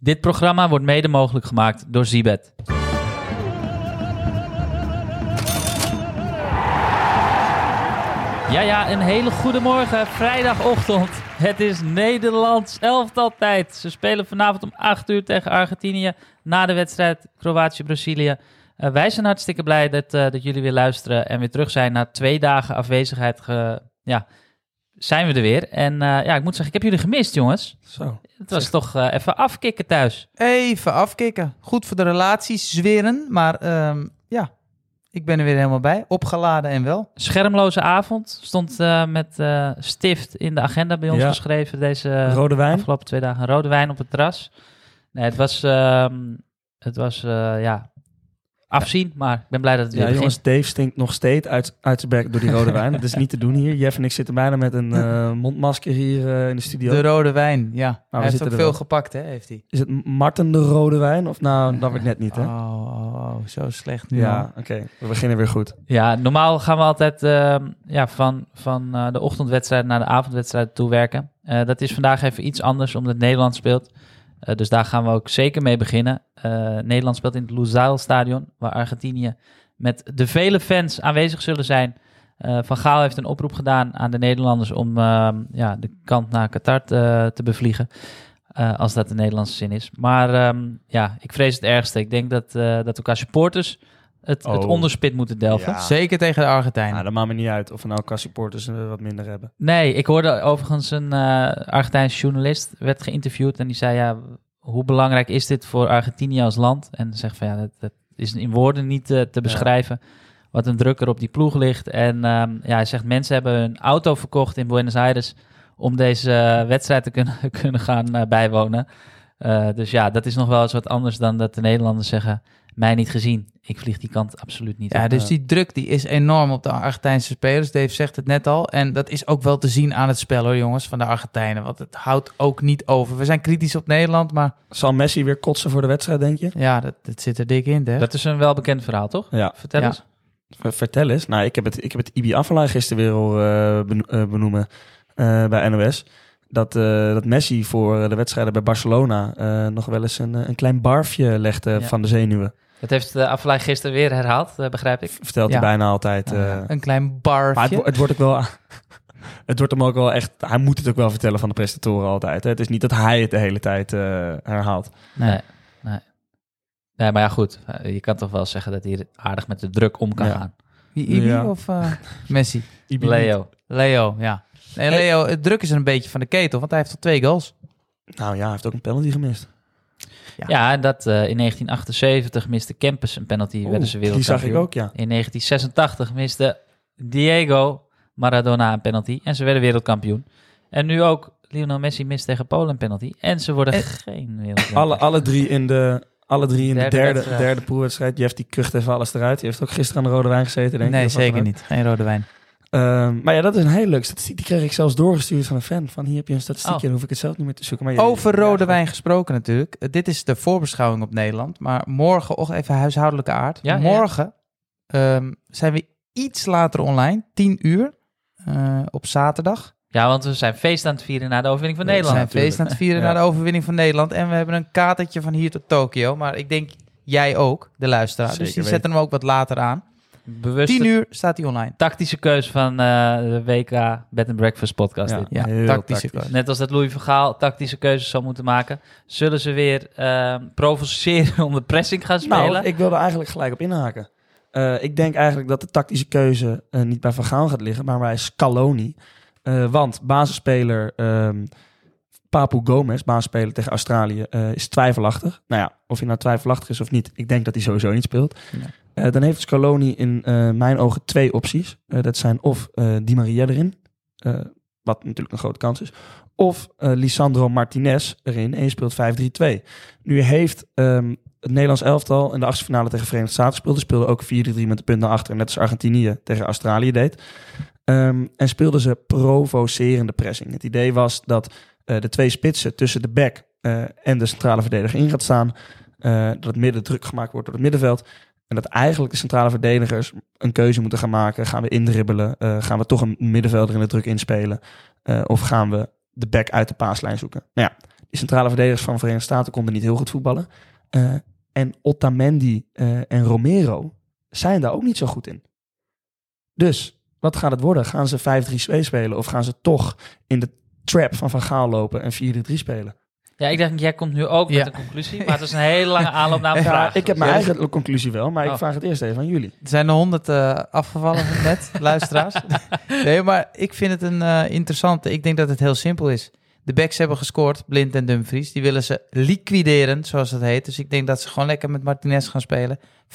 Dit programma wordt mede mogelijk gemaakt door Zibet. Ja, ja, een hele goede morgen. Vrijdagochtend. Het is Nederlands elftal tijd. Ze spelen vanavond om 8 uur tegen Argentinië na de wedstrijd Kroatië-Brazilië. Eh, wij zijn hartstikke blij dat, eh, dat jullie weer luisteren en weer terug zijn. Na twee dagen afwezigheid ge- ja, zijn we er weer. En eh, ja, ik moet zeggen, ik heb jullie gemist, jongens. Zo. Het was toch eh, even afkicken thuis. Even afkicken. Goed voor de relaties, zweren. Maar ehm, ja, ik ben er weer helemaal bij. Opgeladen en wel. Schermloze avond stond eh, met eh, stift in de agenda bij ons Ja. geschreven. Deze Rode wijn. afgelopen twee dagen rode wijn op het terras. Nee, het was, ehm, het was eh, ja, afzien, maar ik ben blij dat het weer Ja, begint. jongens, Dave stinkt nog steeds uit, uit zijn bek door die rode wijn. Dat is niet te doen hier. Jeff en ik zitten bijna met een eh, mondmasker hier eh, in de studio. De rode wijn, ja. hij heeft zitten ook er veel wel. gepakt, hè, heeft hij. Is het Marten de rode wijn? Of nou, dat wordt net niet, hè? Oh, oh, oh, zo slecht nu. Ja, al. oké. We beginnen weer goed. Ja, normaal gaan we altijd ehm, ja, van, van eh, de ochtendwedstrijd naar de avondwedstrijd toe werken. Eh, dat is vandaag even iets anders, omdat Nederland speelt. Eh, dus daar gaan we ook zeker mee beginnen. Eh, Nederland speelt in het Lusail Stadion, waar Argentinië met de vele fans aanwezig zullen zijn. Eh, Van Gaal heeft een oproep gedaan aan de Nederlanders om ehm, ja, de kant naar Qatar te, te bevliegen. Eh, als dat de Nederlandse zin is. Maar ehm, ja, ik vrees het ergste. Ik denk dat, eh dat ook als supporters het, het Oh. onderspit moeten delven. Ja. Zeker tegen de Argentijnen. Nou, dat maakt me niet uit of we nou qua supporters eh, wat minder hebben. Nee, ik hoorde overigens een eh Argentijnse journalist werd geïnterviewd en die zei ja, hoe belangrijk is dit voor Argentinië als land? En zegt van ja, dat, dat is in woorden niet eh, te beschrijven wat een druk er op die ploeg ligt. En ehm, ja, hij zegt mensen hebben hun auto verkocht in Buenos Aires om deze eh, wedstrijd te kunnen, kunnen gaan eh, bijwonen. Eh, dus ja, dat is nog wel eens wat anders dan dat de Nederlanders zeggen, mij niet gezien. Ik vlieg die kant absoluut niet Ja, op. dus die druk die is enorm op de Argentijnse spelers. Dave zegt het net al. En dat is ook wel te zien aan het spel, hoor, jongens, van de Argentijnen. Want het houdt ook niet over. We zijn kritisch op Nederland, maar Zal Messi weer kotsen voor de wedstrijd, denk je? ja, dat, dat zit er dik in, hè? Dat is een welbekend verhaal, toch? Ja. Vertel Ja. eens. V- Vertel eens. Nou, ik heb het, ik heb het Ibi Afellay gisteren weer al eh, beno- eh, benoemen eh, bij NOS. Dat, eh, dat Messi voor de wedstrijden bij Barcelona eh, nog wel eens een, eh, een klein barfje legde Ja. van de zenuwen. Dat heeft de Aflaai gisteren weer herhaald, eh, begrijp ik. Vertelt Ja. hij bijna altijd. eh. Een klein barfje. maar het, wo- het wordt ook wel... Het wordt hem ook wel echt... Hij moet het ook wel vertellen van de prestatoren altijd. Hè? Het is niet dat hij het de hele tijd eh, herhaalt. Nee. nee. Nee, maar ja, goed. Eh, Je kan toch wel zeggen dat hij er aardig met de druk om kan Ja. gaan. Wie, Ibi Ja. of eh, Messi? Ibi Leo. Leo, ja. Nee, Leo, het druk is er een beetje van de ketel, want hij heeft al twee goals. niet. Nou ja, hij heeft ook een penalty gemist. Ja, en dat eh, in 1978 miste Kempis een penalty, werden ze die wereldkampioen. zag ik ook, ja. In 1986 miste Diego Maradona een penalty en ze werden wereldkampioen. En nu ook Lionel Messi mist tegen Polen een penalty en ze worden En- geen wereldkampioen. Alle, alle drie in de, alle drie in Derde de derde, wedstrijd. derde proefwedstrijd. Jeff die kucht even alles eruit. Die heeft ook gisteren aan de rode wijn gezeten, denk ik. nee, Of wat zeker dan ook. niet. Geen rode wijn. Ehm, maar ja, dat is een hele leuke statistiek. Die kreeg ik zelfs doorgestuurd van een fan. Van hier heb je een statistiekje, Oh. dan hoef ik het zelf niet meer te zoeken. Maar je- Over ja, rode goed. wijn gesproken natuurlijk. Eh, Dit is de voorbeschouwing op Nederland. Maar morgen, och, even huishoudelijke aard. Ja, ja, ja. morgen ehm, zijn we iets later online, 10 uur, eh, op zaterdag. Ja, want we zijn feest aan het vieren na de overwinning van We zijn Nederland. natuurlijk. feest aan het vieren Ja. naar de overwinning van Nederland. En we hebben een katertje van hier tot Tokio. Maar ik denk jij ook, de luisteraar. dus Zeker die weten. zetten hem ook wat later aan. Bewust 10 uur staat hij online. tactische keuze van eh, de WK Bed and Breakfast podcast. Ja, dit. Ja, heel tactische tactisch. keuze. Net als dat Louis van Gaal tactische keuzes zou moeten maken, zullen ze weer ehm, provoceren onder pressing gaan spelen. Nou, ik wilde eigenlijk gelijk op inhaken. Eh, ik denk eigenlijk dat de tactische keuze eh, niet bij Van Gaal gaat liggen, maar bij Scaloni. Eh, want basisspeler ehm Papu Gomez, basisspeler tegen Australië, eh, is twijfelachtig. Nou ja, of hij nou twijfelachtig is of niet, ik denk dat hij sowieso niet speelt. Nee. Eh, dan heeft Scaloni in eh, mijn ogen twee opties. Eh, dat zijn of eh Di Maria erin, eh, wat natuurlijk een grote kans is, of eh, Lisandro Martinez erin en je speelt 5-3-2. Nu heeft ehm, het Nederlands elftal in de achtste finale tegen Verenigde Staten speelde. Speelde ook 4-3 met de punt naar achter. Net als Argentinië tegen Australië deed. Ehm, en speelden ze provocerende pressing. Het idee was dat eh, de twee spitsen tussen de back eh, en de centrale verdediger in gaat staan. Eh, dat het midden druk gemaakt wordt door het middenveld. En dat eigenlijk de centrale verdedigers een keuze moeten gaan maken. Gaan we indribbelen? Eh, gaan we toch een middenvelder in de druk inspelen? Eh, of gaan we de back uit de paaslijn zoeken? Nou ja, De centrale verdedigers van de Verenigde Staten konden niet heel goed voetballen. Eh, en Otamendi eh, en Romero zijn daar ook niet zo goed in. Dus, wat gaat het worden? Gaan ze 5-3-2 spelen of gaan ze toch in de trap van Van Gaal lopen en 4-3-3 spelen? Ja, ik dacht, jij komt nu ook Ja. met een conclusie, maar het is een hele lange aanloop naar een Ja, vraag. ik heb mijn Ja. eigen conclusie wel, maar ik Oh. vraag het eerst even aan jullie. Er zijn er honderd eh, afgevallen net, luisteraars. Nee, maar ik vind het een eh, interessante. Ik denk dat het heel simpel is. De backs hebben gescoord, Blind en Dumfries. Die willen ze liquideren, zoals dat heet. Dus ik denk dat ze gewoon lekker met Martinez gaan spelen. 5-3-2.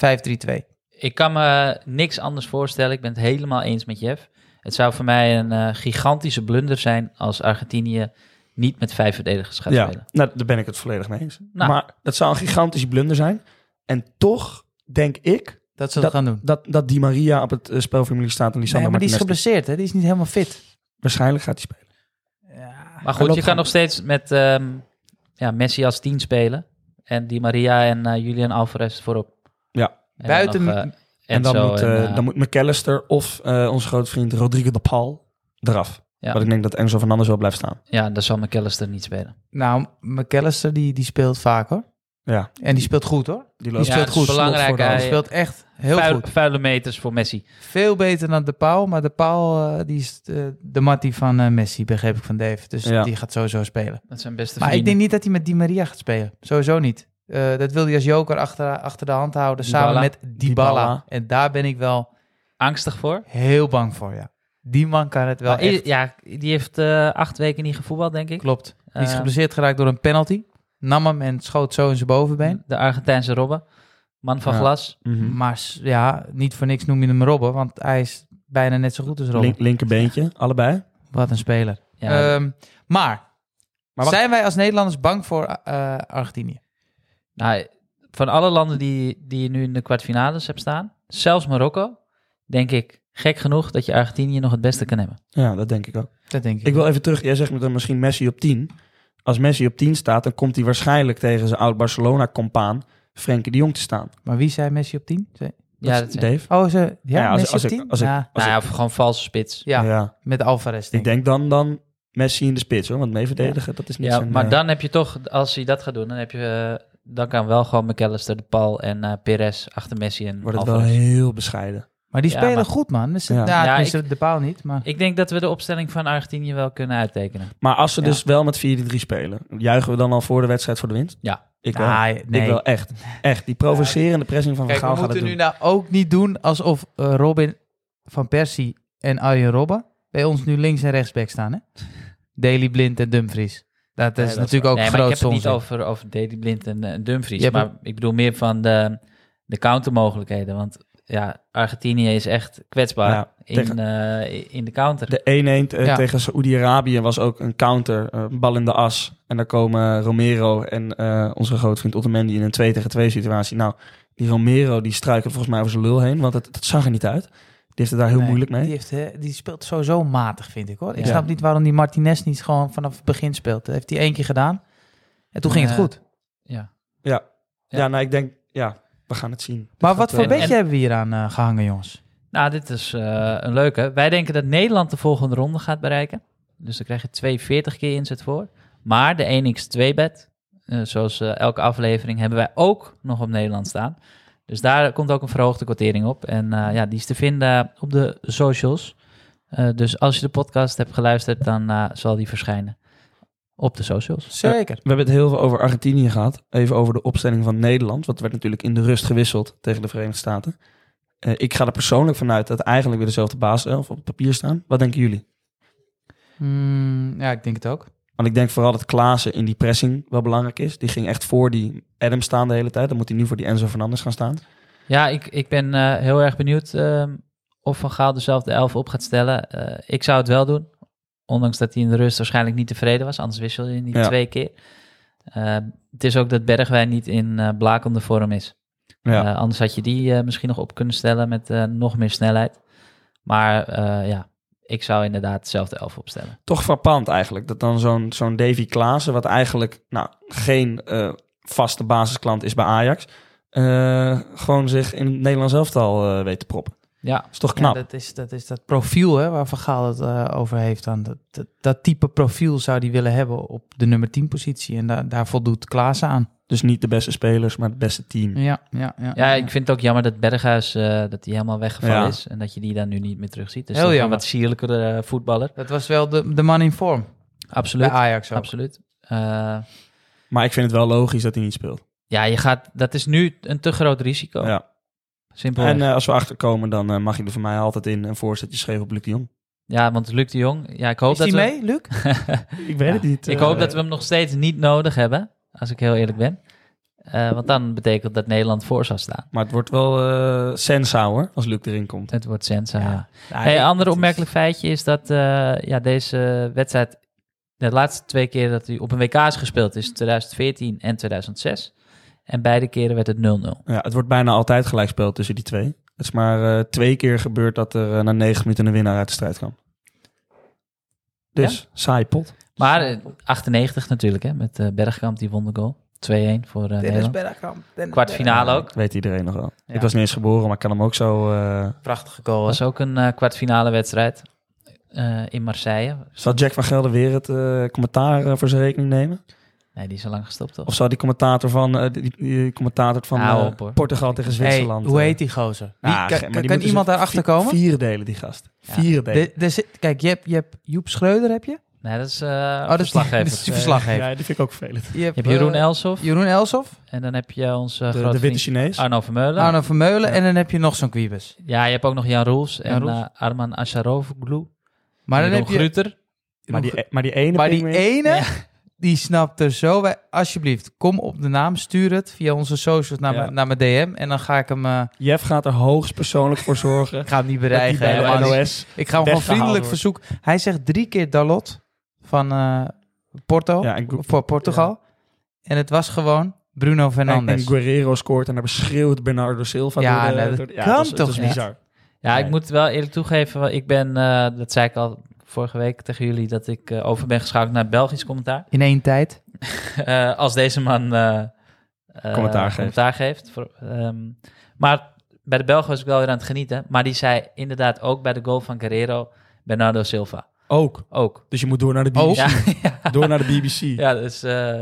Ik kan me niks anders voorstellen. Ik ben het helemaal eens met Jeff. Het zou voor mij een eh, gigantische blunder zijn als Argentinië niet met vijf verdedigers gaat spelen. nou, daar ben ik het volledig mee eens. Nou. Maar dat zou een gigantische blunder zijn. En toch denk ik Dat ze dat, gaan doen. dat, dat Di Maria op het eh, spelformulier staat en Nee, Lisandro maar die is Martinez- geblesseerd, hè? Die is niet helemaal fit. Waarschijnlijk gaat hij spelen. Ja. Maar Hij goed, loopt je kan gewoon. nog steeds met ehm, ja, Messi als tien spelen. En Di Maria en eh, Julian Alvarez voorop. Ja. En dan Buiten nog, eh, En dan, Enzo moet, en, eh, eh, dan moet McAllister of eh, onze grote vriend Rodrigo de Paul eraf. Ja. Want ik denk dat Enzo Fernandez wel blijft staan. Ja, dan zal McAllister niet spelen. Nou, McAllister die, die speelt vaak hoor. Ja, En die speelt goed hoor. Die Ja, speelt dat is goed. belangrijk, Slot voor de hand. hij- speelt echt heel Vuil- goed. Vuile meters voor Messi. Veel beter dan De Pauw. Maar De Pauw eh, die is eh, de mattie van eh, Messi, begreep ik van Dave. Dus Ja. die gaat sowieso spelen. Dat zijn beste Maar ik vrienden. denk niet dat hij met Di Maria gaat spelen. Sowieso niet. Eh, dat wil hij als joker achter, achter de hand houden. Samen Dybala. met Dybala. Dybala. En daar ben ik wel Angstig voor. heel bang voor, ja. Die man kan het wel Maar i- echt. ja, die heeft eh, acht weken niet gevoetbald, denk ik. Klopt. Die is Eh, geblesseerd geraakt door een penalty. Nam hem en schoot zo in zijn bovenbeen. De Argentijnse Robben. Man van Ja. glas. Mhm. Maar s- ja, niet voor niks noem je hem Robben. Want hij is bijna net zo goed als Robben. Link- linkerbeentje, allebei. Wat een speler. Ja, Ehm, maar, wacht- zijn wij als Nederlanders bang voor eh, Argentinië? nou, van alle landen die, die je nu in de kwartfinales hebt staan, zelfs Marokko, denk ik gek genoeg dat je Argentinië nog het beste kan hebben. Ja, dat denk ik ook. Dat denk ik. Ik wil even terug. Jij zegt met een misschien Messi op 10. Als Messi op 10 staat, dan komt hij waarschijnlijk tegen zijn oud-Barcelona-compaan Frenkie de Jong te staan. Maar wie zei Messi op 10? Zei- Ja, dat dat is nou, Dave. Oh, ze, ja, Ja, als- Messi als op ik- 10? als ik- ja, ja, of gewoon valse spits. ja, ja. met Alvarez. Ik denk ik. denk dan, dan Messi in de spits hoor. Want meeverdedigen, dat is niet Ja, zijn, maar eh, dan heb je toch, als hij dat gaat doen, dan heb je... eh, dan kan wel gewoon McAllister, De Paul en eh, Perez achter Messi en wordt het wel Alvarez. heel bescheiden. Maar die Ja, spelen maar- goed, man. Dus, ja. Ja. Ja, Ja, tenminste, de paal niet, maar... Ik denk dat we de opstelling van Argentinië wel kunnen uittekenen. Maar als ze Ja. dus wel met 4-3 spelen, juichen we dan al voor de wedstrijd voor de winst? Ja. Ik wel. Ah, nee. Ik wel echt. Echt. Die provocerende pressing van Van Kijk, we Gaal gaat moeten het nu doen. nou ook niet doen alsof eh, Robin van Persie en Arjen Robben bij ons nu links en rechtsback staan, hè? Daley Blind en Dumfries. Dat, Nee, is dat is natuurlijk ook nee, maar ik groot heb het soms. niet over, over Daley Blind en, eh, en Dumfries. Je hebt maar ik bedoel meer van de, de countermogelijkheden. Want ja, Argentinië is echt kwetsbaar Ja, in, tegen- eh, in de counter. De 1-1 eh, Ja. tegen Saoedi-Arabië was ook een counter. eh, een bal in de as. En daar komen Romero en eh, onze grootvriend Otamendi in een 2 tegen 2 situatie. Nou, die Romero die struikelt volgens mij over zijn lul heen. Want het, het zag er niet uit. Die heeft het daar heel Nee, moeilijk mee. Die, heeft, eh, die speelt sowieso matig, vind ik, hoor. Ik Ja. snap niet waarom die Martinez niet gewoon vanaf het begin speelt. Dat heeft hij één keer gedaan. En toen ging het Ja. goed. Ja. Ja. nou ik denk, ja, we gaan het zien. Dus eh, Maar Dit wat gaat voor wel- beetje- bedje hebben we hier aan eh, gehangen, jongens? Nou, dit is eh, een leuke. Wij denken dat Nederland de volgende ronde gaat bereiken. Dus dan krijg je 240 keer inzet voor. Maar de 1x2-bet, zoals eh, elke aflevering, hebben wij ook nog op Nederland staan. Dus daar komt ook een verhoogde kwartering op. En eh, ja, die is te vinden op de socials. Eh, dus als je de podcast hebt geluisterd, dan eh, zal die verschijnen op de socials. Zeker. We hebben het heel veel over Argentinië gehad. Even over de opstelling van Nederland. Want werd natuurlijk in de rust gewisseld tegen de Verenigde Staten. Eh, ik ga er persoonlijk vanuit dat eigenlijk weer dezelfde basiself op het papier staan. Wat denken jullie? Mm, ja, ik denk het ook. Want ik denk vooral dat Klaassen in die pressing wel belangrijk is. Die ging echt voor die Adam staan de hele tijd. Dan moet hij nu voor die Enzo Fernandes gaan staan. Ja, ik, ik ben eh, heel erg benieuwd ehm, of Van Gaal dezelfde elf op gaat stellen. Eh, ik zou het wel doen. Ondanks dat hij in de rust waarschijnlijk niet tevreden was. Anders wissel je niet Ja. twee keer. Eh, het is ook dat Bergwijn niet in eh blakende vorm is. Eh, anders had je die eh, misschien nog op kunnen stellen met eh, nog meer snelheid. Maar eh, ja, ik zou inderdaad dezelfde elf opstellen. Toch frappant eigenlijk. Dat dan zo'n zo'n Davy Klaassen, wat eigenlijk nou, geen eh, vaste basisklant is bij Ajax... eh, gewoon zich in het Nederlands elftal eh weet te proppen. Ja, is toch Ja, knap? dat, is, dat is dat profiel hè, waar Van Gaal het eh, over heeft. Dan. Dat, dat, dat type profiel zou hij willen hebben op de nummer 10 positie. En daar daar voldoet Klaas aan. Dus niet de beste spelers, maar het beste team. Ja, ja, ja. ja, ik vind het ook jammer dat Berghuis eh, dat hij helemaal weggevallen Ja. is. En dat je die dan nu niet meer terug ziet. Dus Heel dat is een jammer. wat sierlijkere eh, voetballer. Dat was wel de, de man in vorm bij Absoluut. Ajax ook. Absoluut. Eh, Maar ik vind het wel logisch dat hij niet speelt. ja, je gaat, dat is nu een te groot risico. Ja. Simpel. En eh, als we achterkomen, dan eh, mag je er voor mij altijd in een voorzetje schreven op Luc de Jong. ja, want Luc de Jong, ja, ik hoop Is dat die Eh, we- mee, Luc? Ik weet het niet. eh. Ik hoop dat we hem nog steeds niet nodig hebben, als ik heel eerlijk ben. Eh, want dan betekent dat Nederland voor zal staan. Maar het wordt wel eh sensa hoor, als Luc erin komt. Het wordt Sensa. Ja. Ja. Ja, Hey, ik- ander het is- opmerkelijk feitje is dat eh, ja, deze wedstrijd... De laatste twee keer dat hij op een WK is gespeeld is 2014 en 2006. En beide keren werd het 0-0. Ja, het wordt bijna altijd gelijk speel tussen die twee. Het is maar eh, twee keer gebeurd dat er eh, na negen minuten een winnaar uit de strijd kwam. Dus saai pot. Maar eh, 98 natuurlijk, hè, met eh, Bergkamp, die won de goal. 2-1 voor eh, Dennis Nederland. Bergkamp. Dennis Kwartfinale ook. Dat weet iedereen nog wel. Ja. Ik was niet eens geboren, maar ik kan hem ook zo... eh, Bergkamp. Prachtige goal. hè? was ook een eh, kwartfinale wedstrijd eh, in Marseille. Zal Jack van Gelder weer het eh, commentaar eh, voor zijn rekening nemen? Nee, die is al lang gestopt, toch? Of zou die commentator van, eh, die, die commentator van Hou eh, op, hoor. Portugal tegen Hey, Zwitserland? hoe eh, heet die gozer? Wie, ah, kan ge- maar die kan moeten iemand ze daarachter vi- komen? Vierdelen die gast. Ja. Vierdelen. De- er zit- kijk, je hebt, je hebt Joep Schreuder, heb je? Nee, dat is eh Oh, dat is die- verslaggever. Eh, dat is die verslaggever. Ja, die vind ik ook vervelend. Je hebt, Je hebt Jeroen eh, Elsof. Jeroen Elsof, En dan heb je onze De, grote de witte vriend Ah, Chinees. Arno Vermeulen. Arno Vermeulen Ja. en dan heb je nog zo'n kwiebes. Ja, je hebt ook nog Jan Roels en Roels. eh, Arman Asharovoglu. Maar dan heb je... Gruter. Maar die, e- maar die ene Maar die e- pingwing- ene, Ja. die snapt er zo bij. Alsjeblieft, kom op de naam, stuur het via onze socials naar, Ja. mijn- naar mijn DM. En dan ga ik hem, eh, Jeff gaat er hoogst persoonlijk voor zorgen. ik ga hem niet dat hij bedreigen. bij helemaal de niet. NOS ik ga hem gewoon weggehaald vriendelijk wordt. verzoeken. Hij zegt drie keer Dalot van eh, Porto, Ja, en, Gu- voor Portugal. En het was gewoon Bruno en, en Fernandes. Guerrero scoort en daar beschreeuwt Bernardo Silva. door Ja, de- nou, dat door de- kan is- toch is niet? bizar. Ja, ik Nee. moet wel eerlijk toegeven, want ik ben, eh, dat zei ik al vorige week tegen jullie, dat ik eh, over ben geschakeld naar het Belgisch commentaar. In één tijd. Eh, als deze man eh, eh, geeft. geeft. Voor- ehm, maar bij de Belgen was ik wel weer aan het genieten. Maar die zei inderdaad ook bij de goal van Guerrero, Bernardo Silva. Ook. Ook. Dus je moet door naar de BBC. Oh. Ja, Door naar de BBC. ja, dus eh,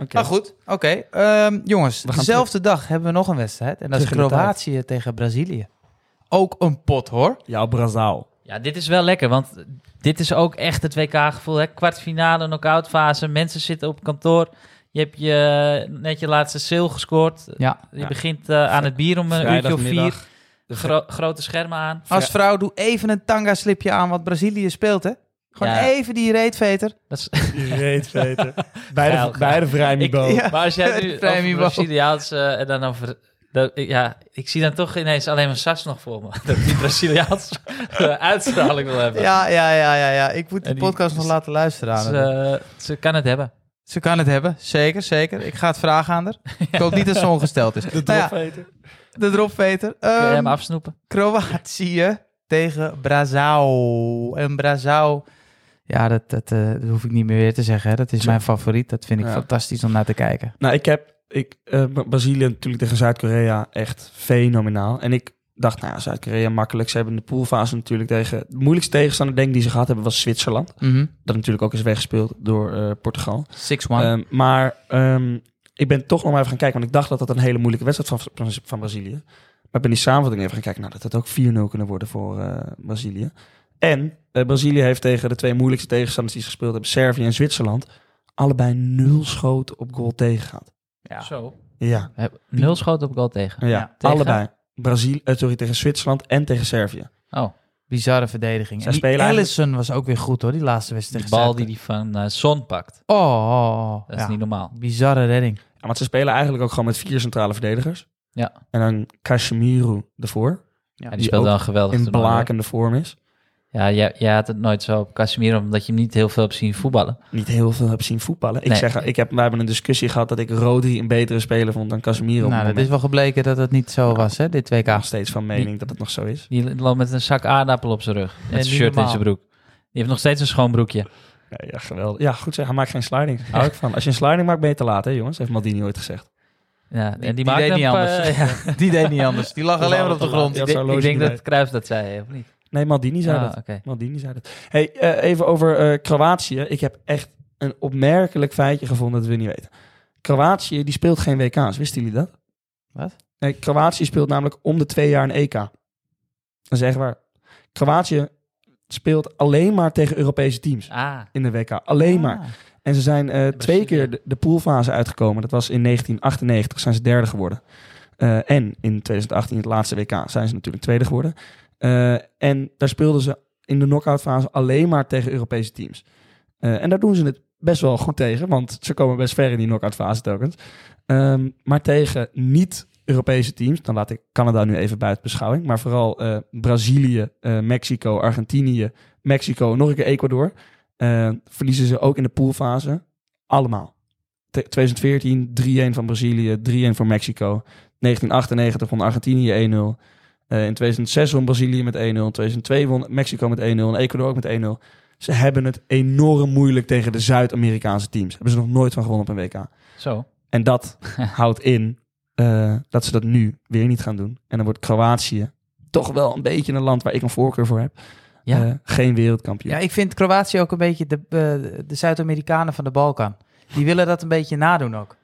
Oké. Maar Ah, goed, oké. ehm, jongens, We gaan dezelfde dag hebben we nog een wedstrijd. En dat is Terug in de tijd. Kroatië tegen Brazilië. Ook een pot hoor. Ja, Brazaal. Ja, dit is wel lekker, want dit is ook echt het WK-gevoel. hè. Kwartfinale, knock-out fase, mensen zitten op kantoor. Je hebt je, net je laatste sale gescoord. Ja. Je Ja. begint eh, aan het bier om een uurtje of vier. Vrijdagmiddag. Gro- grote schermen aan. Ah. Als vrouw, doe even een tanga-slipje aan wat Brazilië speelt, hè? Gewoon Ja. even die reetveter. Dat is, Reet weten. Bij Geil, de, geil. bij de ik, Vrijmibo. maar als jij nu Vrij over Mibo. Braziliaans eh, en dan over... dat- ik- ja, ik zie dan toch ineens alleen maar Sas nog voor me. Dat die Braziliaans eh, uitstraling wil hebben. Ja, ja, ja, ja, ja. Ik moet die, En die- podcast nog dus- laten luisteren aan Dus, haar. eh, ze kan het hebben. Ze kan het hebben, zeker, zeker. Ik ga het vragen aan haar. Ik hoop niet dat ze ongesteld is. De Nou ja, dropveter. de dropveter. Kun je Ehm, hem afsnoepen? Kroatië tegen Brazil. En Brazil, ja, dat, dat, eh, dat hoef ik niet meer weer te zeggen. Hè. Dat is Zo. mijn favoriet. Dat vind ik Ja. fantastisch om naar te kijken. Nou, ik heb ik, eh, Ba- Brazilië natuurlijk tegen Zuid-Korea echt fenomenaal. En ik dacht, nou ja, Zuid-Korea makkelijk. Ze hebben in de poolfase natuurlijk tegen... De moeilijkste tegenstander denk ik die ze gehad hebben was Zwitserland. Mhm. 6-1. Dat natuurlijk ook is weggespeeld door eh, Portugal. Ja, Ehm, maar ehm, ik ben toch nog maar even gaan kijken. Want ik dacht dat dat een hele moeilijke wedstrijd van, van, van Brazilië. Maar ik ben die samenvatting even gaan kijken. Nou, dat het ook 4-0 kunnen worden voor eh, Brazilië. En eh, Brazilië heeft tegen de twee moeilijkste tegenstanders die ze gespeeld hebben... Servië en Zwitserland... allebei nul schoten op goal tegen gehad. Zo. Ja. We hebben Nul schoten op goal tegen. Ja, Ja, tegen- allebei. Brazil, eh, sorry, tegen Zwitserland en tegen Servië. Oh. bizarre verdediging. Zij En die spelen eigenlijk- Allison was ook weer goed, hoor, die laatste wedstrijd. De bal tegen die die van eh Son pakt. Oh, oh, Dat oh. Ja. Nou, is niet normaal. Bizarre redding. Ja, want ze spelen eigenlijk ook gewoon met vier centrale verdedigers. Ja. En dan Casemiro ervoor, Ja, die, die speelt ook wel een geweldig in toernooi. blakende vorm is. Ja, jij, jij had het nooit zo op Casemiro, omdat je hem niet heel veel hebt zien voetballen. Niet heel veel heb zien voetballen. Ik Nee. zeg, ik heb, wij hebben een discussie gehad dat ik Rodri een betere speler vond dan Casemiro. op het nou, dat moment. is wel gebleken dat het niet zo was, hè, dit WK. Ik ben nog steeds van mening dat het nog zo is. Die loopt met een zak aardappel op zijn rug. Met niet een shirt in normaal. zijn broek. Die heeft nog steeds een schoon broekje. Ja, ja, geweldig. Ja, goed zeg, hij maakt geen sliding. Hou ik van. Als je een sliding maakt, ben je te laat, hè jongens? Heeft Maldini ooit gezegd. Ja, en die, die maakte deed een niet paar- anders. ja. Die deed niet anders. Die lag Dat alleen maar was op de allemaal grond. te laat. Die had Ik zijn denk horloge dat Kruis dat zei, of niet? Nee, Maldini zei Ah, dat. oké. Maldini zei dat. Hey, eh, even over eh, Kroatië. Ik heb echt een opmerkelijk feitje gevonden dat we niet weten. Kroatië die speelt geen WK's. Wisten jullie dat? Wat? Nee, Kroatië speelt namelijk om de twee jaar een EK. Dat is echt waar. Kroatië speelt alleen maar tegen Europese teams Ah, in de WK. Alleen maar. Ah. En ze zijn eh, twee Brazilië. keer de, de poolfase uitgekomen. Dat was in 1998, zijn ze derde geworden. Eh, en in 2018, het laatste WK, zijn ze natuurlijk tweede geworden. Eh, en daar speelden ze in de knock-outfase alleen maar tegen Europese teams. Eh, en daar doen ze het best wel goed tegen, want ze komen best ver in die knock-outfase telkens. Ehm, maar tegen niet-Europese teams, dan laat ik Canada nu even buiten beschouwing, maar vooral eh, Brazilië, eh, Mexico, Argentinië, Mexico, nog een keer Ecuador. Eh, verliezen ze ook in de poolfase allemaal. Te- 2014 3-1 van Brazilië, 3-1 voor Mexico. 1998 won Argentinië 1-0. Eh, in 2006 won Brazilië met 1-0. In 2002 won Mexico met 1-0 en Ecuador ook met 1-0. Ze hebben het enorm moeilijk tegen de Zuid-Amerikaanse teams. Hebben ze nog nooit van gewonnen op een WK. zo. En dat houdt in eh, dat ze dat nu weer niet gaan doen. En dan wordt Kroatië toch wel een beetje een land waar ik een voorkeur voor heb. Ja. Eh, geen wereldkampioen. Ja, ik vind Kroatië ook een beetje de, eh, de Zuid-Amerikanen van de Balkan. Die willen dat een beetje nadoen ook.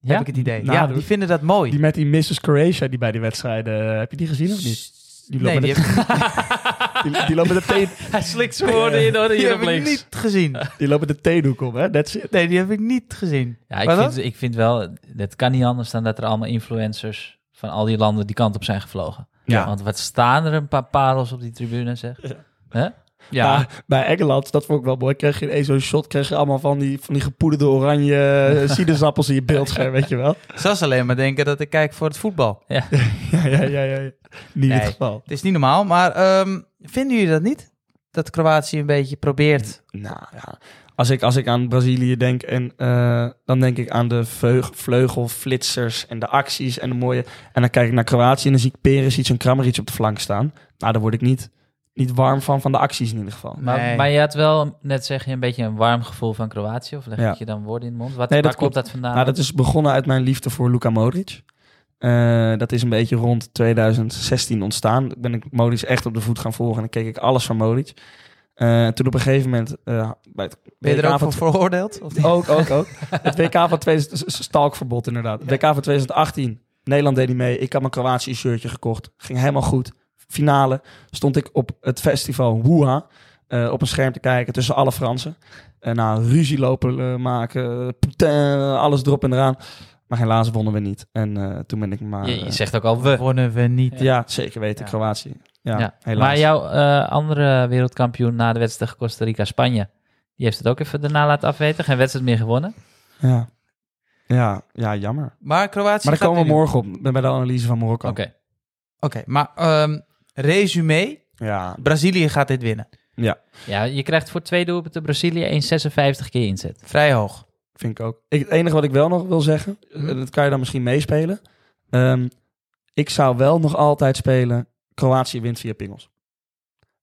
Ja? Heb ik het idee. Ja, Nadoen? die vinden dat mooi. Die met die Mrs. Croatia die bij die wedstrijden... eh, Heb je die gezien of niet? Die loopt nee, met die, het- heb, Die, die lopen de thee, Hij slikt zijn woorden in, hoor, die hier heb op ik links. niet gezien. die lopen de theedoek om, hè? That's it. Nee, die heb ik niet gezien. Ja, ik Wat vind, ik vind wel, het kan niet anders dan dat er allemaal influencers van al die landen die kant op zijn gevlogen. Ja. Want wat staan er een paar parels op die tribune, zeg. Hè? Ja, Maar bij Engeland, dat vond ik wel mooi, kreeg je ineens zo'n shot, kreeg je allemaal van die, van die gepoederde oranje eh, sinaasappels in je beeldscherm, weet je wel? ze was alleen maar denken dat ik kijk voor het voetbal. Ja, ja, ja. ja. Niet Nee. het geval. Het is niet normaal, maar ehm, vinden jullie dat niet? Dat Kroatië een beetje probeert. Nou ja, als ik, als ik aan Brazilië denk, en, eh, dan denk ik aan de veug- vleugelflitsers en de acties en de mooie... En dan kijk ik naar Kroatië en dan zie ik Perisic en Kramaric op de flank staan. Nou, daar word ik niet, niet warm van, van de acties in ieder geval. Maar, Nee. maar je had wel, net zeg je, een beetje een warm gevoel van Kroatië. Of leg Ja. ik je dan woorden in de mond? Wat, Nee, dat waar komt dat vandaan? Nou, dat is begonnen uit mijn liefde voor Luka Modric. Eh, dat is een beetje rond 2016 ontstaan. Toen Ben ik Modric echt op de voet gaan volgen en dan keek ik alles van Modric. Eh, toen op een gegeven moment eh, bij het Ben je WK er ook van voor veroordeeld? Of niet? ook, ook, ook. Het WK van 2000, s- stalkverbod inderdaad. Het WK van 2018, Nederland deed niet mee. Ik had mijn Kroatië shirtje gekocht. Ging helemaal goed. Finale stond ik op het festival Wuha. eh, op een scherm te kijken tussen alle Fransen. En nou, ruzie lopen eh, maken. eh, putain, alles erop en eraan. Maar helaas wonnen we niet. En eh, toen ben ik maar... je, je eh, zegt ook al we. Wonnen we niet. ja, zeker weten, Ja. Kroatië. Ja, Ja. helaas. Maar jouw eh, andere wereldkampioen na de wedstrijd Costa Rica-Spanje, die heeft het ook even daarna laten afweten. Geen wedstrijd meer gewonnen. ja. Ja, ja, jammer. Maar Kroatië. Maar daar gaat komen we weer morgen op. Bij de analyse van Marokko. Oké. doen. Oké, maar ehm resume: Ja, Brazilië gaat dit winnen. Ja, je krijgt voor twee doelpunten Brazilië 1,56 keer inzet. Vrij hoog. Vind ik ook. Ik, het enige wat ik wel nog wil zeggen, Mhm. eh, dat kan je dan misschien meespelen. Ehm, ik zou wel nog altijd spelen Kroatië wint via pingels.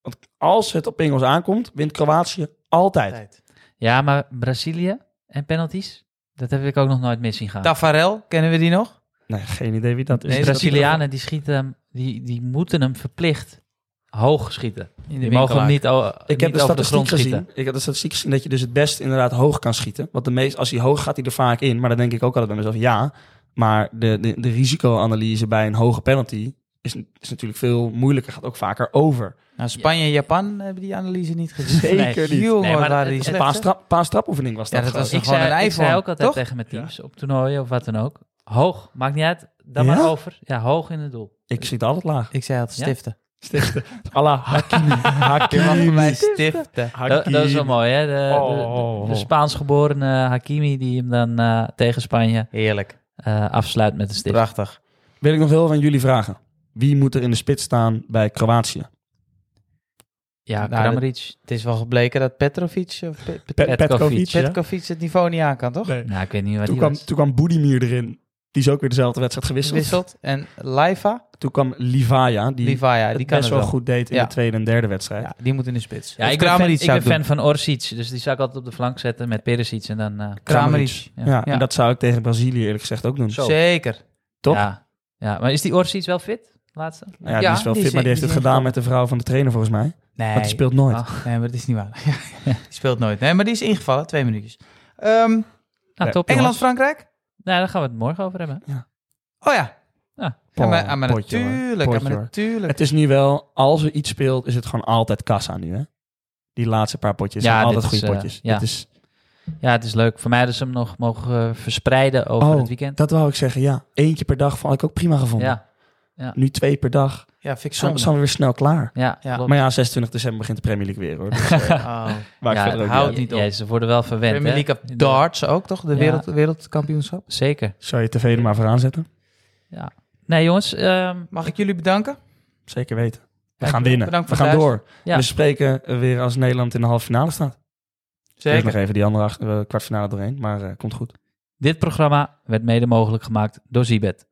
Want als het op pingels aankomt, wint Kroatië altijd. Ja, maar Brazilië en penalties, dat heb ik ook nog nooit meer zien gaan. Dus Tafarel, kennen we die nog? Nee, geen idee wie dat is. De Nee, Brazilianen die schieten hem, die, die moeten hem verplicht hoog schieten. In Die mogen hem niet, o- ik niet heb de over de statistiek grond schieten. gezien. Ik heb de statistiek gezien dat je dus het best inderdaad hoog kan schieten. Want de meest, als hij hoog gaat, hij er vaak in. Maar dan denk ik ook altijd bij mezelf, ja. Maar de, de, de risicoanalyse bij een hoge penalty is, is natuurlijk veel moeilijker. Gaat ook vaker over. Nou, Spanje en Japan hebben die analyse niet gezien. Zeker niet. Jongen, Nee, maar dat- waren die het- slecht, Paas hè? trap- Paastrapoefening was dat. Ja, dat was gewoon. Ik Gewoon zei, een ik zei iPhone, ook altijd toch? tegen mijn teams op toernooien of wat dan ook. Hoog, maakt niet uit. Dan maar Ja? over. Ja, hoog in het doel. Ik schiet altijd laag. Ik zei altijd Ja? stiften. Stichten. Allah. Hakimi. Je mag voor mij Hakimi. stiften. Dat, Eh, dat is wel mooi, hè? De, de- Oh. de, Spaans geboren Hakimi die hem dan eh, tegen Spanje Heerlijk. eh, afsluit met een stift. Prachtig. Wil ik nog heel van jullie vragen. Wie moet er in de spits staan bij Kroatië? Ja, Nou, Kramaric. Het is wel gebleken dat Petrovic, of Pe- Pe- Pe- Petkovic, Petkovic, ja? Petkovic het niveau niet aan kan, toch? Nee. Nou, ik weet niet waar Toen die kwam, was. toen kwam Boedimir erin. Die is ook weer dezelfde wedstrijd gewisseld. wisselt. En Laifa, Toen kwam Livaya, die, Livaya, het die kan best het wel wel. goed deed in Ja. de tweede en derde wedstrijd. Ja, die moet in de spits. Ja, Of ik ben, fan, Kramaric ik ben zou fan het van Orsic, dus die zou ik altijd op de flank zetten met Perisic. En dan, eh, Kramaric. Ja. Ja. Ja. en dat zou ik tegen Brazilië eerlijk gezegd ook doen. Nou doen. Zo. Zeker. Top. Ja. ja, maar is die Orsic wel fit? Laatste? Nou, Ja, die Ja, is wel die fit, is- maar die heeft die het is gedaan wel- met de vrouw van de trainer volgens mij. Nee, Maar die speelt nooit. Ah. nee, maar dat is niet waar. die speelt nooit. Nee, maar die is ingevallen. Twee minuutjes. Ehm, Nou, Ja. top jongens. Engeland-Frankrijk? Nou, daar gaan we het morgen over hebben. Oh ja. Ja. Ja, maar, ah, maar Potje, hoor. natuurlijk. ah, Potje, maar hoor. natuurlijk. Het is nu wel, als er iets speelt, is het gewoon altijd kassa nu, hè? Die laatste paar potjes Ja, zijn altijd dit is, goede eh, potjes. ja. Dit is, Ja, het is leuk. Voor mij dat ze hem nog mogen eh, verspreiden over Oh, het weekend. dat wou ik zeggen, ja. Eentje per dag had ik ook prima gevonden. Ja, Nu twee per dag. Ja, vind ik Zijn zonde. zijn we weer snel klaar. ja, Ja. klopt. Maar ja, 26 december begint de Premier League weer, hoor. Dus, eh, Oh. waar ik Ja, verder ook hou niet uit. het niet op. Ja, ze worden wel verwend. Premier hè? League of Darts ook, toch? De Ja. wereld, wereldkampioenschap. Zeker. Zou je tv er maar voor aanzetten? Nee, jongens. ehm, Mag ik jullie bedanken? Zeker weten. We Kijk, gaan winnen. bedankt We voor gaan het door. Ja. We spreken eh, weer als Nederland in de halve finale staat. Ik nog even die andere acht- eh, kwartfinale doorheen, maar eh, komt goed. dit programma werd mede mogelijk gemaakt door Zibet.